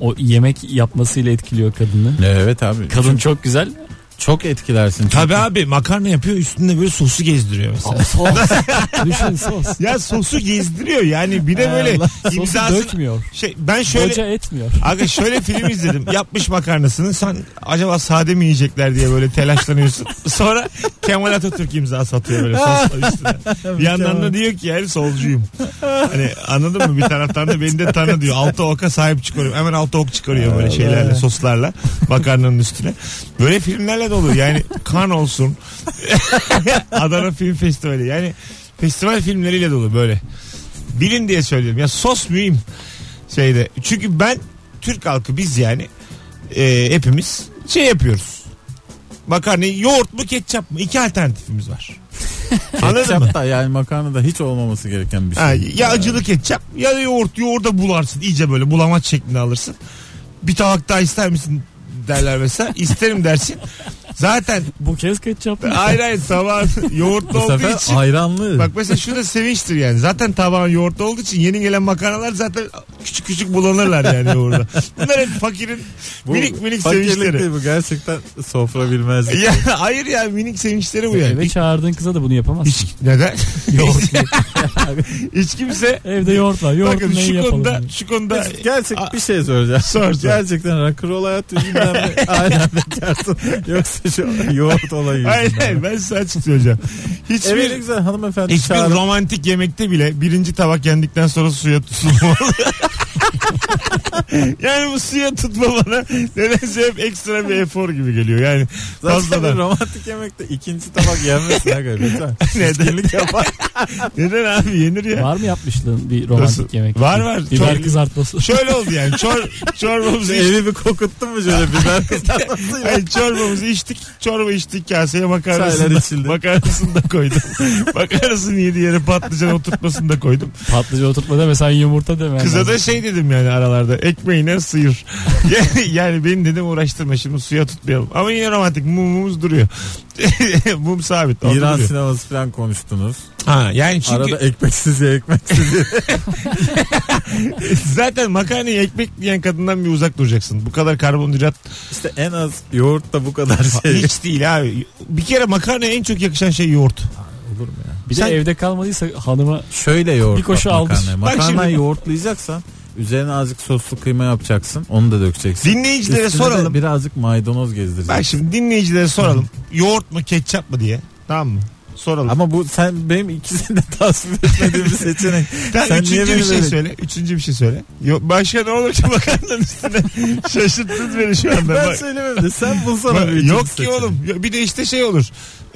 Speaker 4: o yemek yapmasıyla etkiliyor kadını.
Speaker 3: Evet abi.
Speaker 4: Kadın çok güzel.
Speaker 3: Çok etkilersin. Çünkü
Speaker 2: Tabii abi makarna yapıyor üstünde böyle sosu gezdiriyor mesela.
Speaker 4: sos. [LAUGHS] Düşün sos.
Speaker 2: Ya sosu gezdiriyor yani bir de böyle
Speaker 4: Allah. Sosu
Speaker 2: imzasını
Speaker 4: dökmüyor.
Speaker 2: şey ben şöyle
Speaker 4: Şöyle... etmiyor.
Speaker 2: Aga şöyle film izledim. Yapmış makarnasını. Sen acaba sade mi yiyecekler diye böyle telaşlanıyorsun. Sonra Kemal Atatürk imza satıyor böyle sosla üstüne. bir yandan da diyor ki yani solcuyum. Hani anladın mı? Bir taraftan da beni de tanı diyor. Altı oka sahip çıkarıyorum. Hemen altı ok çıkarıyor böyle şeylerle soslarla makarnanın üstüne. Böyle filmlerle de olur. Yani kan olsun. [LAUGHS] Adana Film Festivali. Yani festival filmleriyle dolu böyle. Bilin diye söylüyorum. Ya sos mühim şeyde. Çünkü ben Türk halkı biz yani e, hepimiz şey yapıyoruz. Makarnayı yoğurt mu ketçap mı? İki alternatifimiz var.
Speaker 3: [LAUGHS]
Speaker 2: Anladın mı?
Speaker 3: Ketçap da yani makarna da hiç olmaması gereken bir şey.
Speaker 2: Ha, ya acılı ketçap ya da yoğurt. Yoğurda bularsın. iyice böyle bulamaç şeklinde alırsın. Bir tabak daha ister misin derler mesela. İsterim dersin. Zaten
Speaker 4: Bu kez ketçap mı?
Speaker 2: hayır hayır tabağın yoğurtlu
Speaker 3: Bu
Speaker 2: olduğu
Speaker 3: sefer
Speaker 2: için.
Speaker 3: ayranlı.
Speaker 2: Bak mesela şu da sevinçtir yani. Zaten tabağın yoğurtlu olduğu için yeni gelen makarnalar zaten küçük küçük bulanırlar yani yoğurda. Bunlar hep fakirin minik minik
Speaker 3: fakirlik
Speaker 2: sevinçleri.
Speaker 3: değil bu gerçekten sofra bilmezlik.
Speaker 2: [LAUGHS] Ya hayır ya minik sevinçleri bu yani.
Speaker 4: Eve çağırdığın kıza da bunu yapamazsın.
Speaker 2: Hiç, neden? [LAUGHS]
Speaker 4: Yoğurt
Speaker 2: Hiç kimse
Speaker 4: [LAUGHS] Evde yoğurt var. Yoğurt
Speaker 2: bakın
Speaker 4: neyi
Speaker 2: şu
Speaker 4: yapalım?
Speaker 2: konuda,
Speaker 4: diye.
Speaker 2: şu konuda
Speaker 3: Gerçek
Speaker 2: A-
Speaker 3: bir şey soracağım.
Speaker 2: Sor, sor.
Speaker 3: Gerçekten rock'n'roll hayat
Speaker 2: [LAUGHS]
Speaker 3: yüzünden mi? Aynen bekarsın. Yoksa şu yoğurt olayı
Speaker 2: hayır
Speaker 3: yüzünden.
Speaker 2: hayır
Speaker 3: mi?
Speaker 2: ben size açık söyleyeceğim.
Speaker 3: Evet
Speaker 2: Hiçbir
Speaker 3: ne güzel hanımefendi
Speaker 2: Hiçbir
Speaker 3: çağırın.
Speaker 2: romantik yemekte bile birinci tabak yendikten sonra suya tutulmamalı. [LAUGHS] yani bu suya tutma bana nedense hep ekstra bir efor gibi geliyor. Yani
Speaker 3: Zaten
Speaker 2: fazladan.
Speaker 3: romantik yemekte ikinci tabak yenmesin. ha galiba. Lütfen.
Speaker 2: Neden? [LAUGHS] Neden abi yenir ya?
Speaker 4: Var mı yapmışlığın bir romantik
Speaker 2: Nasıl?
Speaker 4: yemek?
Speaker 2: Var, var.
Speaker 4: Biber
Speaker 2: Çok-
Speaker 4: kızartması. [LAUGHS]
Speaker 2: Şöyle oldu yani çor, çorbamızı içtik.
Speaker 3: Evi bir kokottun mu şöyle biber kızartması ya?
Speaker 2: Hayır, çorbamızı içtik. Çorba içtik kaseye makarnasını
Speaker 3: Çaylar
Speaker 2: da,
Speaker 3: içildi.
Speaker 2: makarnasını da
Speaker 3: [LAUGHS]
Speaker 2: koydum. makarnasını yedi yere patlıcan oturtmasını da koydum.
Speaker 4: Patlıcı oturtma deme sen yumurta deme.
Speaker 2: Kıza da şey dedim yani aralarda ekmeğine sıyır. [LAUGHS] yani, yani beni dedim uğraştırma şimdi suya tutmayalım. Ama yine romantik mumumuz duruyor. [LAUGHS] Mum sabit. orada
Speaker 3: İran
Speaker 2: duruyor.
Speaker 3: sineması falan konuştunuz.
Speaker 2: Ha, yani çünkü
Speaker 3: Arada ekmeksiz ya ekmeksiz.
Speaker 2: [LAUGHS] zaten makarnayı ekmek yiyen kadından bir uzak duracaksın. Bu kadar karbonhidrat
Speaker 3: İşte en az yoğurt da bu kadar şey.
Speaker 2: hiç değil abi. Bir kere makarnaya en çok yakışan şey yoğurt.
Speaker 3: Olur mu ya?
Speaker 4: Bir de
Speaker 2: Sen-
Speaker 4: evde kalmadıysa hanıma
Speaker 3: Şöyle yoğurt
Speaker 4: Bir koşu
Speaker 3: bak
Speaker 4: aldır.
Speaker 3: makarnaya.
Speaker 2: Bak
Speaker 3: Makarnayı
Speaker 2: şimdi-
Speaker 3: yoğurtlayacaksan üzerine azıcık soslu kıyma yapacaksın. Onu da dökeceksin.
Speaker 2: Dinleyicilere
Speaker 3: Üstüne de
Speaker 2: soralım.
Speaker 3: birazcık maydanoz gezdireceksin.
Speaker 2: Bak şimdi dinleyicilere soralım. Yoğurt mu ketçap mı diye. Tamam mı? Soralım.
Speaker 3: [LAUGHS] Ama bu sen benim ikisini de tasvip etmediğim bir seçenek.
Speaker 2: Sen,
Speaker 3: sen niye
Speaker 2: üçüncü bir
Speaker 3: beni
Speaker 2: şey
Speaker 3: böyle-
Speaker 2: söyle. Üçüncü bir şey söyle. Yo- başka ne olur ki [LAUGHS] makarnanın üstüne? Şaşırttınız beni şu anda.
Speaker 3: ben
Speaker 2: Bak-
Speaker 3: söylemem
Speaker 2: [LAUGHS]
Speaker 3: de sen bulsana
Speaker 2: Bak,
Speaker 3: bir üçüncü
Speaker 2: Yok ki
Speaker 3: seçenek.
Speaker 2: oğlum. Ya Bir de işte şey olur.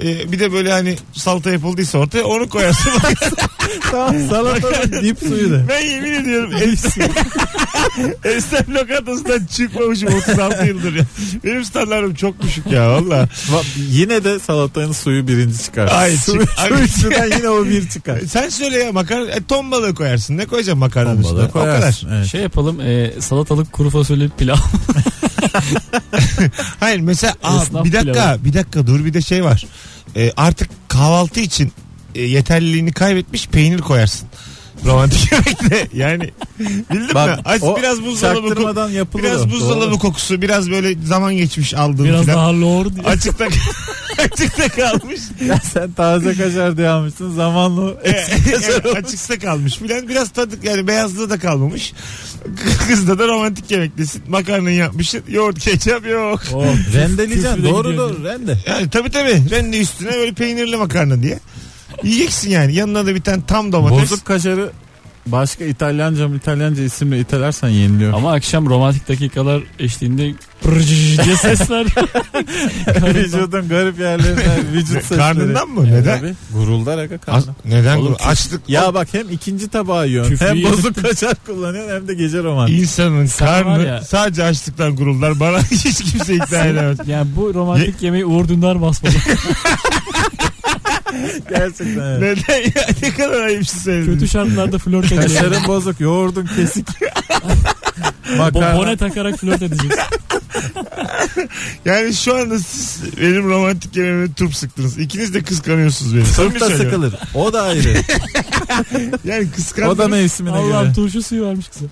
Speaker 2: Ee, bir de böyle hani salata yapıldıysa ortaya onu
Speaker 3: [LAUGHS]
Speaker 2: koyarsın.
Speaker 4: [LAUGHS]
Speaker 3: Tamam salatanın dip suyu da.
Speaker 2: ben yemin ediyorum es- Esnaf lokantasından çıkmamışım 36 yıldır ya. Benim standartım çok düşük ya valla.
Speaker 3: Va- Yine de salatanın suyu birinci çıkar.
Speaker 2: Ay,
Speaker 3: su,
Speaker 2: çık-
Speaker 3: [LAUGHS] su
Speaker 2: Ay.
Speaker 3: üçlüden yine o
Speaker 2: [LAUGHS]
Speaker 3: bir çıkar.
Speaker 2: Sen söyle ya makarna. E, ton balığı koyarsın. Ne koyacaksın makarnanın
Speaker 3: Bombalı
Speaker 2: üstüne? O kadar.
Speaker 3: koyarsın, evet.
Speaker 4: şey yapalım e, salatalık kuru fasulye pilav.
Speaker 2: Hayır mesela aa,
Speaker 4: Esnaf
Speaker 2: bir dakika
Speaker 4: pilavı.
Speaker 2: bir dakika dur bir de şey var. Ee, artık kahvaltı için e, yeterliliğini kaybetmiş peynir koyarsın. Romantik [LAUGHS] yemekte yani bildin
Speaker 3: Bak,
Speaker 2: mi? Aç
Speaker 3: o
Speaker 2: biraz buzdolabı koy.
Speaker 3: Çaktırmadan yapılır. o.
Speaker 2: Biraz buzdolabı
Speaker 3: Doğru.
Speaker 2: kokusu, biraz böyle zaman geçmiş aldığın
Speaker 4: Biraz
Speaker 2: filan.
Speaker 4: daha lor diye.
Speaker 2: Açıkta
Speaker 4: [LAUGHS]
Speaker 2: açıkta kalmış.
Speaker 3: Ya [LAUGHS] sen taze kaşar diye almışsın zamanla. o- [LAUGHS]
Speaker 2: Evet, açıkta kalmış filan. Biraz tadı yani beyazlığı da kalmamış. Kızda da romantik yemektesin. Makarnayı yapmışsın. Yoğurt, ketçap yok.
Speaker 4: Oh,
Speaker 3: Rendeleyeceksin.
Speaker 4: küfür de
Speaker 3: Doğru
Speaker 4: gidiyor.
Speaker 3: doğru rende.
Speaker 2: Yani tabii tabii. Rende üstüne böyle peynirli makarna diye. Yiyeceksin yani. Yanına da bir tane tam domates.
Speaker 3: Bozuk kaşarı başka İtalyanca mı İtalyanca isimle itelersen yeniliyor.
Speaker 4: Ama akşam romantik dakikalar eşliğinde pırcıcı diye sesler. [LAUGHS]
Speaker 3: [LAUGHS] Vücudun garip yerlerinden vücut sesleri.
Speaker 2: Karnından mı? Neden?
Speaker 3: Tabii. Guruldar aga
Speaker 2: Az-
Speaker 3: karnı.
Speaker 2: neden
Speaker 4: Oğlum
Speaker 2: bu?
Speaker 4: küf-
Speaker 2: Açlık.
Speaker 3: Ya bak hem ikinci tabağı yiyorsun
Speaker 4: Küfrü
Speaker 3: hem
Speaker 4: yedim.
Speaker 3: bozuk kaşar kullanıyorsun hem de gece romantik.
Speaker 2: İnsanın
Speaker 4: Sen var
Speaker 2: karnı
Speaker 4: ya-
Speaker 2: sadece açlıktan gururlar. Bana [LAUGHS] hiç kimse ikna edemez.
Speaker 4: yani bu romantik yemeği Uğur Dündar basmalı.
Speaker 3: Gerçekten evet. şey.
Speaker 2: Neden ya? [LAUGHS] Ne kadar ayıpsın senin.
Speaker 4: Kötü şartlarda flört ediyor.
Speaker 3: Kaşarın bozuk, yoğurdun
Speaker 2: [LAUGHS]
Speaker 3: kesik.
Speaker 4: Bo-
Speaker 3: Makarna.
Speaker 4: Bone takarak flört edeceksin.
Speaker 2: Yani şu anda siz benim romantik yemeğime turp sıktınız. İkiniz de kıskanıyorsunuz beni. Samimi
Speaker 3: Turp da
Speaker 2: söylüyorum.
Speaker 3: sıkılır. O da ayrı.
Speaker 2: Yani
Speaker 3: o da
Speaker 2: kıskandınız.
Speaker 3: mevsimine
Speaker 4: Allah'ım
Speaker 3: göre.
Speaker 4: turşu suyu varmış kıza.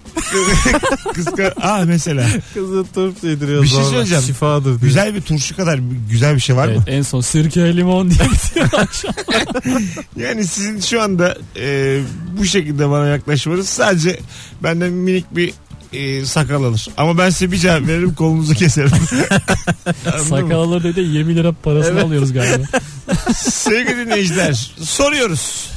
Speaker 2: Kıskan... Ah mesela.
Speaker 3: Kızı turp yediriyor.
Speaker 2: Bir şey
Speaker 3: zorla.
Speaker 2: söyleyeceğim.
Speaker 3: Şifadır diyor.
Speaker 2: Güzel bir turşu kadar bir- güzel bir şey var
Speaker 4: Evet,
Speaker 2: mı?
Speaker 4: en son sirke limon diye bitiyor akşam.
Speaker 2: Yani sizin şu anda e, bu şekilde bana yaklaşmanız sadece benden minik bir e, sakal alır. Ama ben size bir cevap veririm kolunuzu keserim. Anladın mı?
Speaker 4: Sakalları dedi 20 lira parasını
Speaker 3: Evet.
Speaker 4: alıyoruz galiba.
Speaker 2: Sevgili dinleyiciler soruyoruz.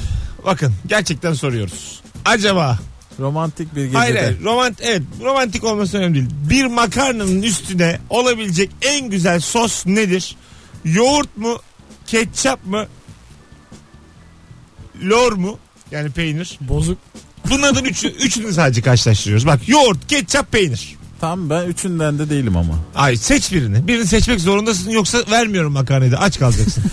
Speaker 2: Bakın gerçekten soruyoruz. Acaba
Speaker 3: Romantik bir gecede.
Speaker 2: Hayır hayır. Romant evet, romantik olması önemli değil. Bir makarnanın üstüne olabilecek en güzel sos nedir? Yoğurt mu? Ketçap mı? Lor mu? Yani peynir.
Speaker 4: Bozuk
Speaker 2: Bunların üçü, üçünü sadece karşılaştırıyoruz. Bak yoğurt, ketçap, peynir.
Speaker 3: Tam ben üçünden de değilim ama.
Speaker 2: Ay seç birini. Birini seçmek
Speaker 3: [LAUGHS] Eh.
Speaker 2: zorundasın yoksa vermiyorum makarnayı da aç kalacaksın.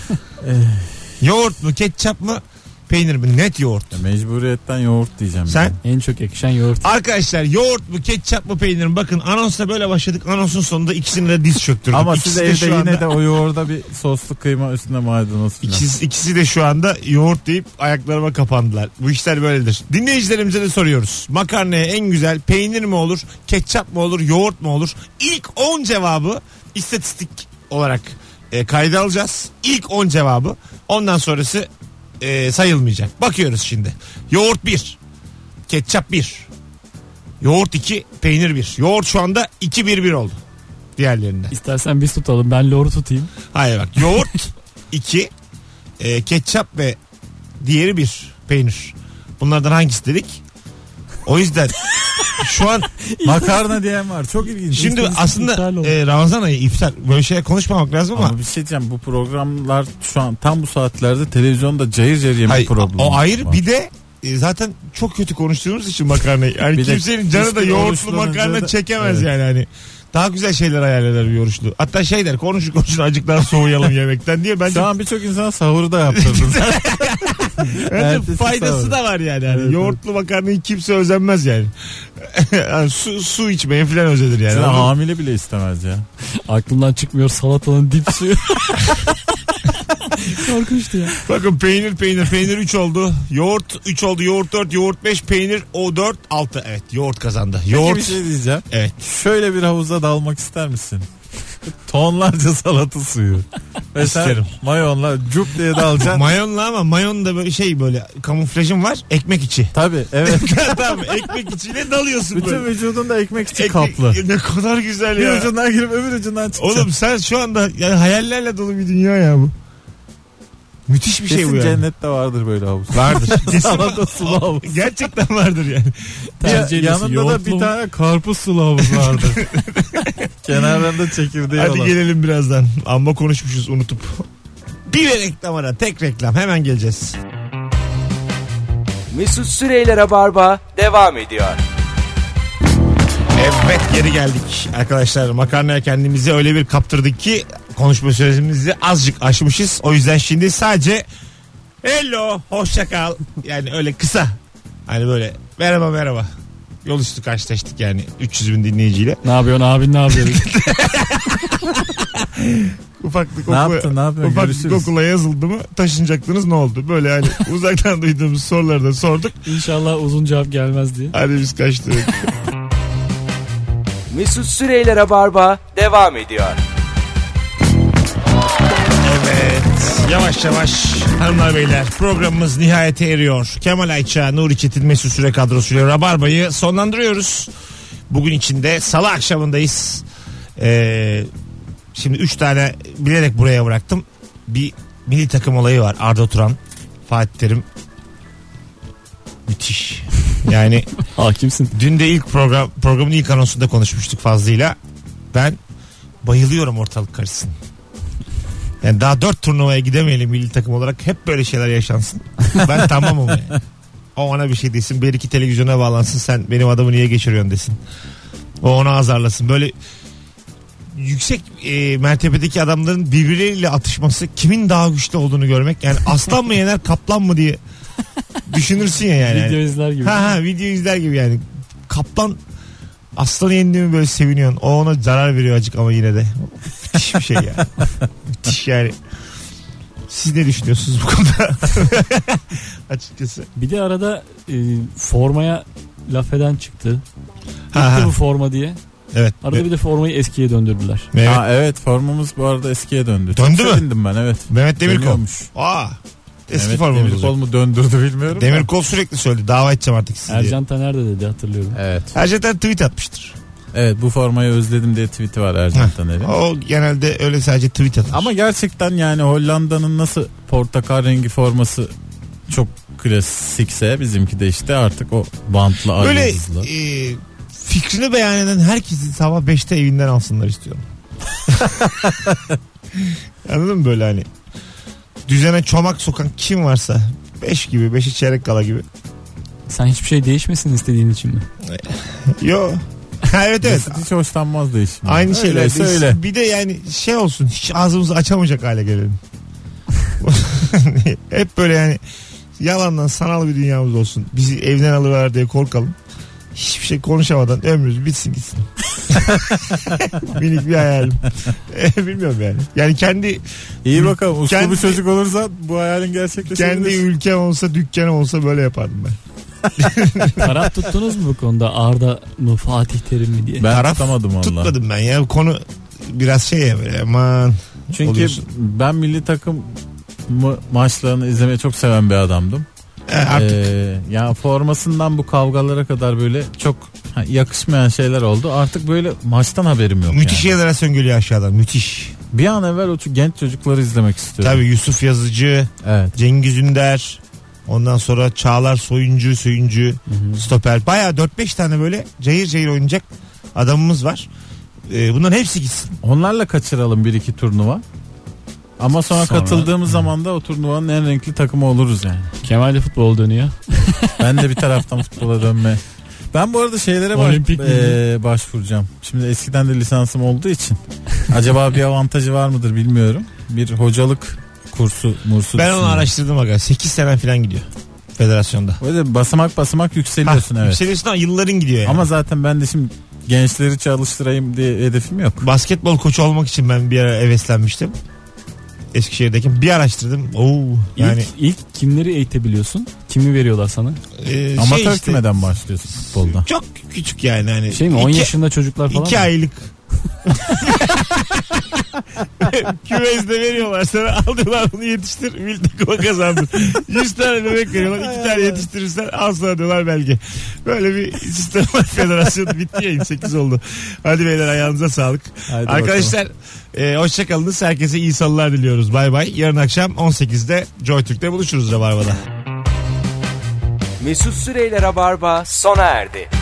Speaker 2: yoğurt mu, ketçap mı? peynir mi? Net yoğurt.
Speaker 3: Ya mecburiyetten yoğurt diyeceğim.
Speaker 2: Sen?
Speaker 3: ben.
Speaker 4: En çok yakışan yoğurt.
Speaker 2: Arkadaşlar yoğurt mu ketçap mı peynir mi? Bakın anonsla böyle başladık. Anonsun sonunda ikisini de diz çöktürdük.
Speaker 3: Ama
Speaker 2: İkisi
Speaker 3: siz evde yine de o yoğurda bir soslu kıyma üstüne maydanoz filan.
Speaker 2: İkisi, ikisi de şu anda yoğurt deyip ayaklarıma kapandılar. Bu işler böyledir. Dinleyicilerimize de soruyoruz. Makarnaya en güzel peynir mi olur, ketçap mı olur, yoğurt mu olur? İlk 10 cevabı istatistik olarak e, kayda alacağız. İlk 10 cevabı. Ondan sonrası e, sayılmayacak. Bakıyoruz şimdi. Yoğurt 1, ketçap 1, yoğurt 2, peynir 1. Yoğurt şu anda 2-1-1 oldu diğerlerinden.
Speaker 4: İstersen biz tutalım ben loru tutayım.
Speaker 2: Hayır bak
Speaker 3: [LAUGHS]
Speaker 2: yoğurt 2 ketçap ve diğeri bir peynir. Bunlardan hangisi dedik? O
Speaker 3: [LAUGHS]
Speaker 2: yüzden şu an
Speaker 3: Makarna diyen var. Çok ilginç.
Speaker 2: şimdi
Speaker 4: İstatistik iptal
Speaker 2: aslında
Speaker 4: oldu.
Speaker 2: e, Ramazan ayı iftar böyle şey konuşmamak lazım ama,
Speaker 3: Ama bir şey diyeceğim bu programlar şu an tam bu saatlerde televizyonda cayır cayır yemek
Speaker 2: Hayır,
Speaker 3: problemi.
Speaker 2: o ayrı
Speaker 3: var.
Speaker 2: bir de e, zaten çok kötü konuştuğumuz için makarnayı. Yani
Speaker 3: [LAUGHS] Bir de
Speaker 2: kimsenin canı da
Speaker 3: üstüne
Speaker 2: yoğurtlu
Speaker 3: oruçlanınca
Speaker 2: makarna
Speaker 3: da-
Speaker 2: çekemez
Speaker 3: Evet.
Speaker 2: yani hani. Daha güzel şeyler hayal eder bir yoğurtlu. Hatta şey der konuşun konuşun acıktan soğuyalım
Speaker 3: [LAUGHS]
Speaker 2: yemekten diye bence
Speaker 3: Şu an birçok insan sahuru da
Speaker 2: [LAUGHS]
Speaker 3: yaptırdın.
Speaker 2: Bence
Speaker 3: Ertesi
Speaker 2: faydası
Speaker 3: sabah.
Speaker 2: da var yani. yani
Speaker 3: Evet,
Speaker 2: yoğurtlu makarnayı kimse özenmez yani. [LAUGHS] Yani su, su içmeye falan özenir yani.
Speaker 3: Sen
Speaker 2: Anladın mı?
Speaker 3: hamile bile istemez ya.
Speaker 4: Aklımdan çıkmıyor salatanın dip suyu. Korkunçtu ya.
Speaker 2: Bakın peynir peynir peynir 3 oldu. Yoğurt 3 oldu. Yoğurt 4, yoğurt 5, peynir o 4, 6. Evet yoğurt kazandı.
Speaker 3: Peki bir
Speaker 2: Yoğurt
Speaker 3: şey diyeceğim.
Speaker 2: evet.
Speaker 3: Şöyle bir havuza dalmak ister misin? Tonlarca salata suyu. Ve sen
Speaker 2: İsterim.
Speaker 3: mayonla cup diye dalacaksın.
Speaker 2: Mayonla ama mayon da böyle şey böyle kamuflajım var. Ekmek içi. [LAUGHS]
Speaker 3: Tabii evet.
Speaker 2: tamam ekmek içiyle dalıyorsun
Speaker 3: Bütün
Speaker 2: böyle.
Speaker 3: vücudunda ekmek için
Speaker 2: Ekmek-
Speaker 3: kaplı.
Speaker 2: Ne kadar güzel
Speaker 3: Bir
Speaker 2: ya.
Speaker 3: ucundan girip öbür ucundan çıkacaksın.
Speaker 2: Oğlum sen şu anda yani hayallerle dolu bir dünya ya bu. Müthiş bir
Speaker 3: Kesin
Speaker 2: şey bu yani.
Speaker 3: cennette vardır böyle havuz.
Speaker 2: Vardır. Kesin
Speaker 3: [LAUGHS] Salata sulu havuz.
Speaker 2: Gerçekten vardır yani.
Speaker 4: Tercih
Speaker 3: Ya-
Speaker 4: ediyorsun.
Speaker 3: yanında da
Speaker 4: Yoğurtlu
Speaker 3: bir
Speaker 4: mu?
Speaker 3: tane karpuz sulu havuz vardır. [LAUGHS] Kenarlarında çekirdeği
Speaker 2: Hadi
Speaker 3: olan.
Speaker 2: gelelim birazdan. Amma konuşmuşuz unutup. Bir reklam ara. Tek reklam. Hemen geleceğiz.
Speaker 1: Mesut Süreyler'e barba devam ediyor.
Speaker 2: Evet geri geldik. Arkadaşlar makarnaya kendimizi öyle bir kaptırdık ki konuşma süremizi azıcık aşmışız. O yüzden şimdi sadece hello hoşça kal. Yani öyle kısa. Hani böyle merhaba merhaba. Yol üstü karşılaştık yani 300 bin dinleyiciyle.
Speaker 4: Ne yapıyorsun abin ne yapıyorsun?
Speaker 2: Ufaklık
Speaker 3: Ne
Speaker 2: okula-
Speaker 3: yaptın ne yapıyorsun?
Speaker 2: Ufaklık
Speaker 3: Görüşürüz.
Speaker 2: okula yazıldı mı taşınacaktınız ne oldu? Böyle hani [LAUGHS] uzaktan duyduğumuz soruları da sorduk.
Speaker 4: İnşallah uzun cevap gelmez diye.
Speaker 2: Hadi biz kaçtık.
Speaker 1: Mesut Süreyler'e barba devam ediyor.
Speaker 2: [LAUGHS] evet yavaş yavaş hanımlar beyler programımız nihayete eriyor. Kemal Ayça, Nuri Çetin, Mesut Süre kadrosuyla Rabarba'yı sonlandırıyoruz. Bugün içinde salı akşamındayız. Ee, şimdi 3 tane bilerek buraya bıraktım. Bir milli takım olayı var Arda Turan, Fatih Terim. Müthiş. Yani
Speaker 4: Hakimsin.
Speaker 2: Dün de ilk program programın ilk anonsunda konuşmuştuk fazlıyla. Ben bayılıyorum ortalık karışsın. Yani daha dört turnuvaya gidemeyelim milli takım olarak. Hep böyle şeyler yaşansın. Ben tamamım yani. O ona bir şey desin. Bir iki televizyona bağlansın. Sen benim adamı niye geçiriyorsun desin. O ona azarlasın. Böyle yüksek e, mertebedeki adamların birbirleriyle atışması kimin daha güçlü olduğunu görmek. Yani aslan mı yener kaplan mı diye düşünürsün ya yani.
Speaker 4: Video izler gibi.
Speaker 2: Ha ha video izler gibi yani. Kaplan aslanı yendi mi böyle seviniyorsun. O ona zarar veriyor acık ama yine de. Müthiş bir şey ya. Müthiş yani. Siz ne düşünüyorsunuz bu konuda? [LAUGHS] Açıkçası.
Speaker 4: Bir de arada e, formaya laf eden çıktı.
Speaker 2: Ha,
Speaker 4: Bitti
Speaker 2: ha.
Speaker 4: bu forma diye.
Speaker 2: Evet.
Speaker 4: Arada bir de formayı eskiye döndürdüler.
Speaker 2: Mehmet,
Speaker 3: Ha evet formamız bu arada eskiye döndü.
Speaker 2: Döndü
Speaker 3: Çok
Speaker 2: mü?
Speaker 3: sevindim ben evet.
Speaker 2: Mehmet Demirkol.
Speaker 3: Dönüyormuş.
Speaker 2: Aa. Eski
Speaker 3: Evet,
Speaker 2: formamız
Speaker 3: Demirkol
Speaker 2: olacak.
Speaker 3: mu döndürdü bilmiyorum. da.
Speaker 2: Demirkol sürekli söyledi. Dava edeceğim artık sizi diye.
Speaker 4: Ercan Taner de dedi hatırlıyorum.
Speaker 3: Evet.
Speaker 2: Ercan'dan tweet atmıştır.
Speaker 3: Evet bu formayı özledim diye tweet'i var Ercan
Speaker 2: Heh.
Speaker 3: Taner'in.
Speaker 2: O genelde öyle sadece tweet atar.
Speaker 3: Ama gerçekten yani Hollanda'nın nasıl portakal rengi forması çok klasikse bizimki de işte artık o bantlı
Speaker 2: Böyle
Speaker 3: ayrızlı.
Speaker 2: e, fikrini beyan eden herkesi sabah 5'te evinden alsınlar istiyorum. Anladın mı böyle hani? Düzene çomak sokan kim varsa 5 gibi 5 çeyrek kala gibi.
Speaker 4: Sen hiçbir şey değişmesin istediğin için mi?
Speaker 2: Yo. [LAUGHS] Ha, evet evet.
Speaker 3: Mesut hiç hoşlanmaz değişim.
Speaker 2: Aynı şeyler.
Speaker 3: söyle.
Speaker 2: Bir de yani şey olsun hiç ağzımızı açamayacak hale gelelim. Hep böyle yani Yalandan sanal bir dünyamız olsun. Bizi evden alıver diye korkalım. Hiçbir şey konuşamadan ömrümüz bitsin gitsin. [LAUGHS] Minik bir hayalim. [LAUGHS] Eh, Bilmiyorum yani. Yani kendi
Speaker 3: İyi bakalım. Uslu
Speaker 2: Kendi-
Speaker 3: bir çocuk olursa bu hayalin gerçekleşebilir.
Speaker 2: kendi ülkem olsa dükkanım olsa böyle yapardım ben.
Speaker 4: Taraf tuttunuz mu bu konuda Arda mı Fatih Terim mi diye.
Speaker 3: ben
Speaker 2: Taraf
Speaker 3: tutamadım valla.
Speaker 2: Tutmadım ben ya. Konu biraz şey ya böyle aman.
Speaker 3: Çünkü
Speaker 2: Oluyorsun.
Speaker 3: ben milli takım ma- maçlarını izlemeyi çok seven bir adamdım.
Speaker 2: E, artık
Speaker 3: Ee, ya formasından bu kavgalara kadar böyle çok ha, yakışmayan şeyler oldu. Artık böyle maçtan haberim yok.
Speaker 2: müthiş
Speaker 3: yani.
Speaker 2: jenerasyon geliyor aşağıdan. Müthiş.
Speaker 3: Bir an evvel o ço- genç çocukları izlemek istiyorum.
Speaker 2: Tabii Yusuf Yazıcı,
Speaker 3: Evet.
Speaker 2: Cengiz Ünder. Ondan sonra Çağlar Soyuncu, Soyuncu, Stoper. Baya 4-5 tane böyle cayır cayır oynayacak adamımız var. E, bunların hepsi gitsin.
Speaker 3: Onlarla kaçıralım bir iki turnuva. Ama sonra,
Speaker 4: Sonra-
Speaker 3: katıldığımız zaman da o turnuvanın en renkli takımı oluruz yani.
Speaker 4: Kemal de futbol dönüyor.
Speaker 3: Ben de bir taraftan futbola dönme. Ben bu arada şeylere baş-
Speaker 4: Olimpik mi?
Speaker 3: eee, başvuracağım. Şimdi eskiden de lisansım olduğu için. Acaba bir avantajı var mıdır bilmiyorum. Bir hocalık kursu, mursu.
Speaker 2: Ben onu
Speaker 3: düşünüyorum.
Speaker 2: araştırdım aga. 8 sene falan gidiyor federasyonda.
Speaker 3: Böyle basamak basamak yükseliyorsun evet.
Speaker 2: Yükseliyorsun ama yılların gidiyor yani.
Speaker 3: Ama zaten ben de şimdi gençleri çalıştırayım diye hedefim yok.
Speaker 2: basketbol koçu olmak için ben bir ara heveslenmiştim. Eskişehir'deki bir araştırdım. Oo
Speaker 4: İlk,
Speaker 2: yani
Speaker 4: ilk kimleri eğitebiliyorsun? Kimi veriyorlar sana?
Speaker 2: e,
Speaker 3: Amatör
Speaker 2: şey işte,
Speaker 3: kümeden başlıyorsun futbolda.
Speaker 2: Çok küçük yani hani.
Speaker 4: Şey mi 10
Speaker 2: İki-
Speaker 4: yaşında çocuklar falan
Speaker 2: iki
Speaker 4: mı?
Speaker 2: aylık. [LAUGHS] Küvezde veriyorlar sana al diyorlar bunu yetiştir milli takıma kazandır. 100 tane bebek veriyorlar 2 tane yetiştirirsen al sana diyorlar belge. Böyle bir sistem [LAUGHS] var federasyon bitti ya 28 oldu. Hadi beyler ayağınıza sağlık.
Speaker 3: Haydi
Speaker 2: Arkadaşlar e, hoşçakalınız. Herkese iyi salılar diliyoruz. Bay bay. Yarın akşam 18'de Joy Türk'te buluşuruz Rabarba'da.
Speaker 1: Mesut Süreyler'e barba sona erdi.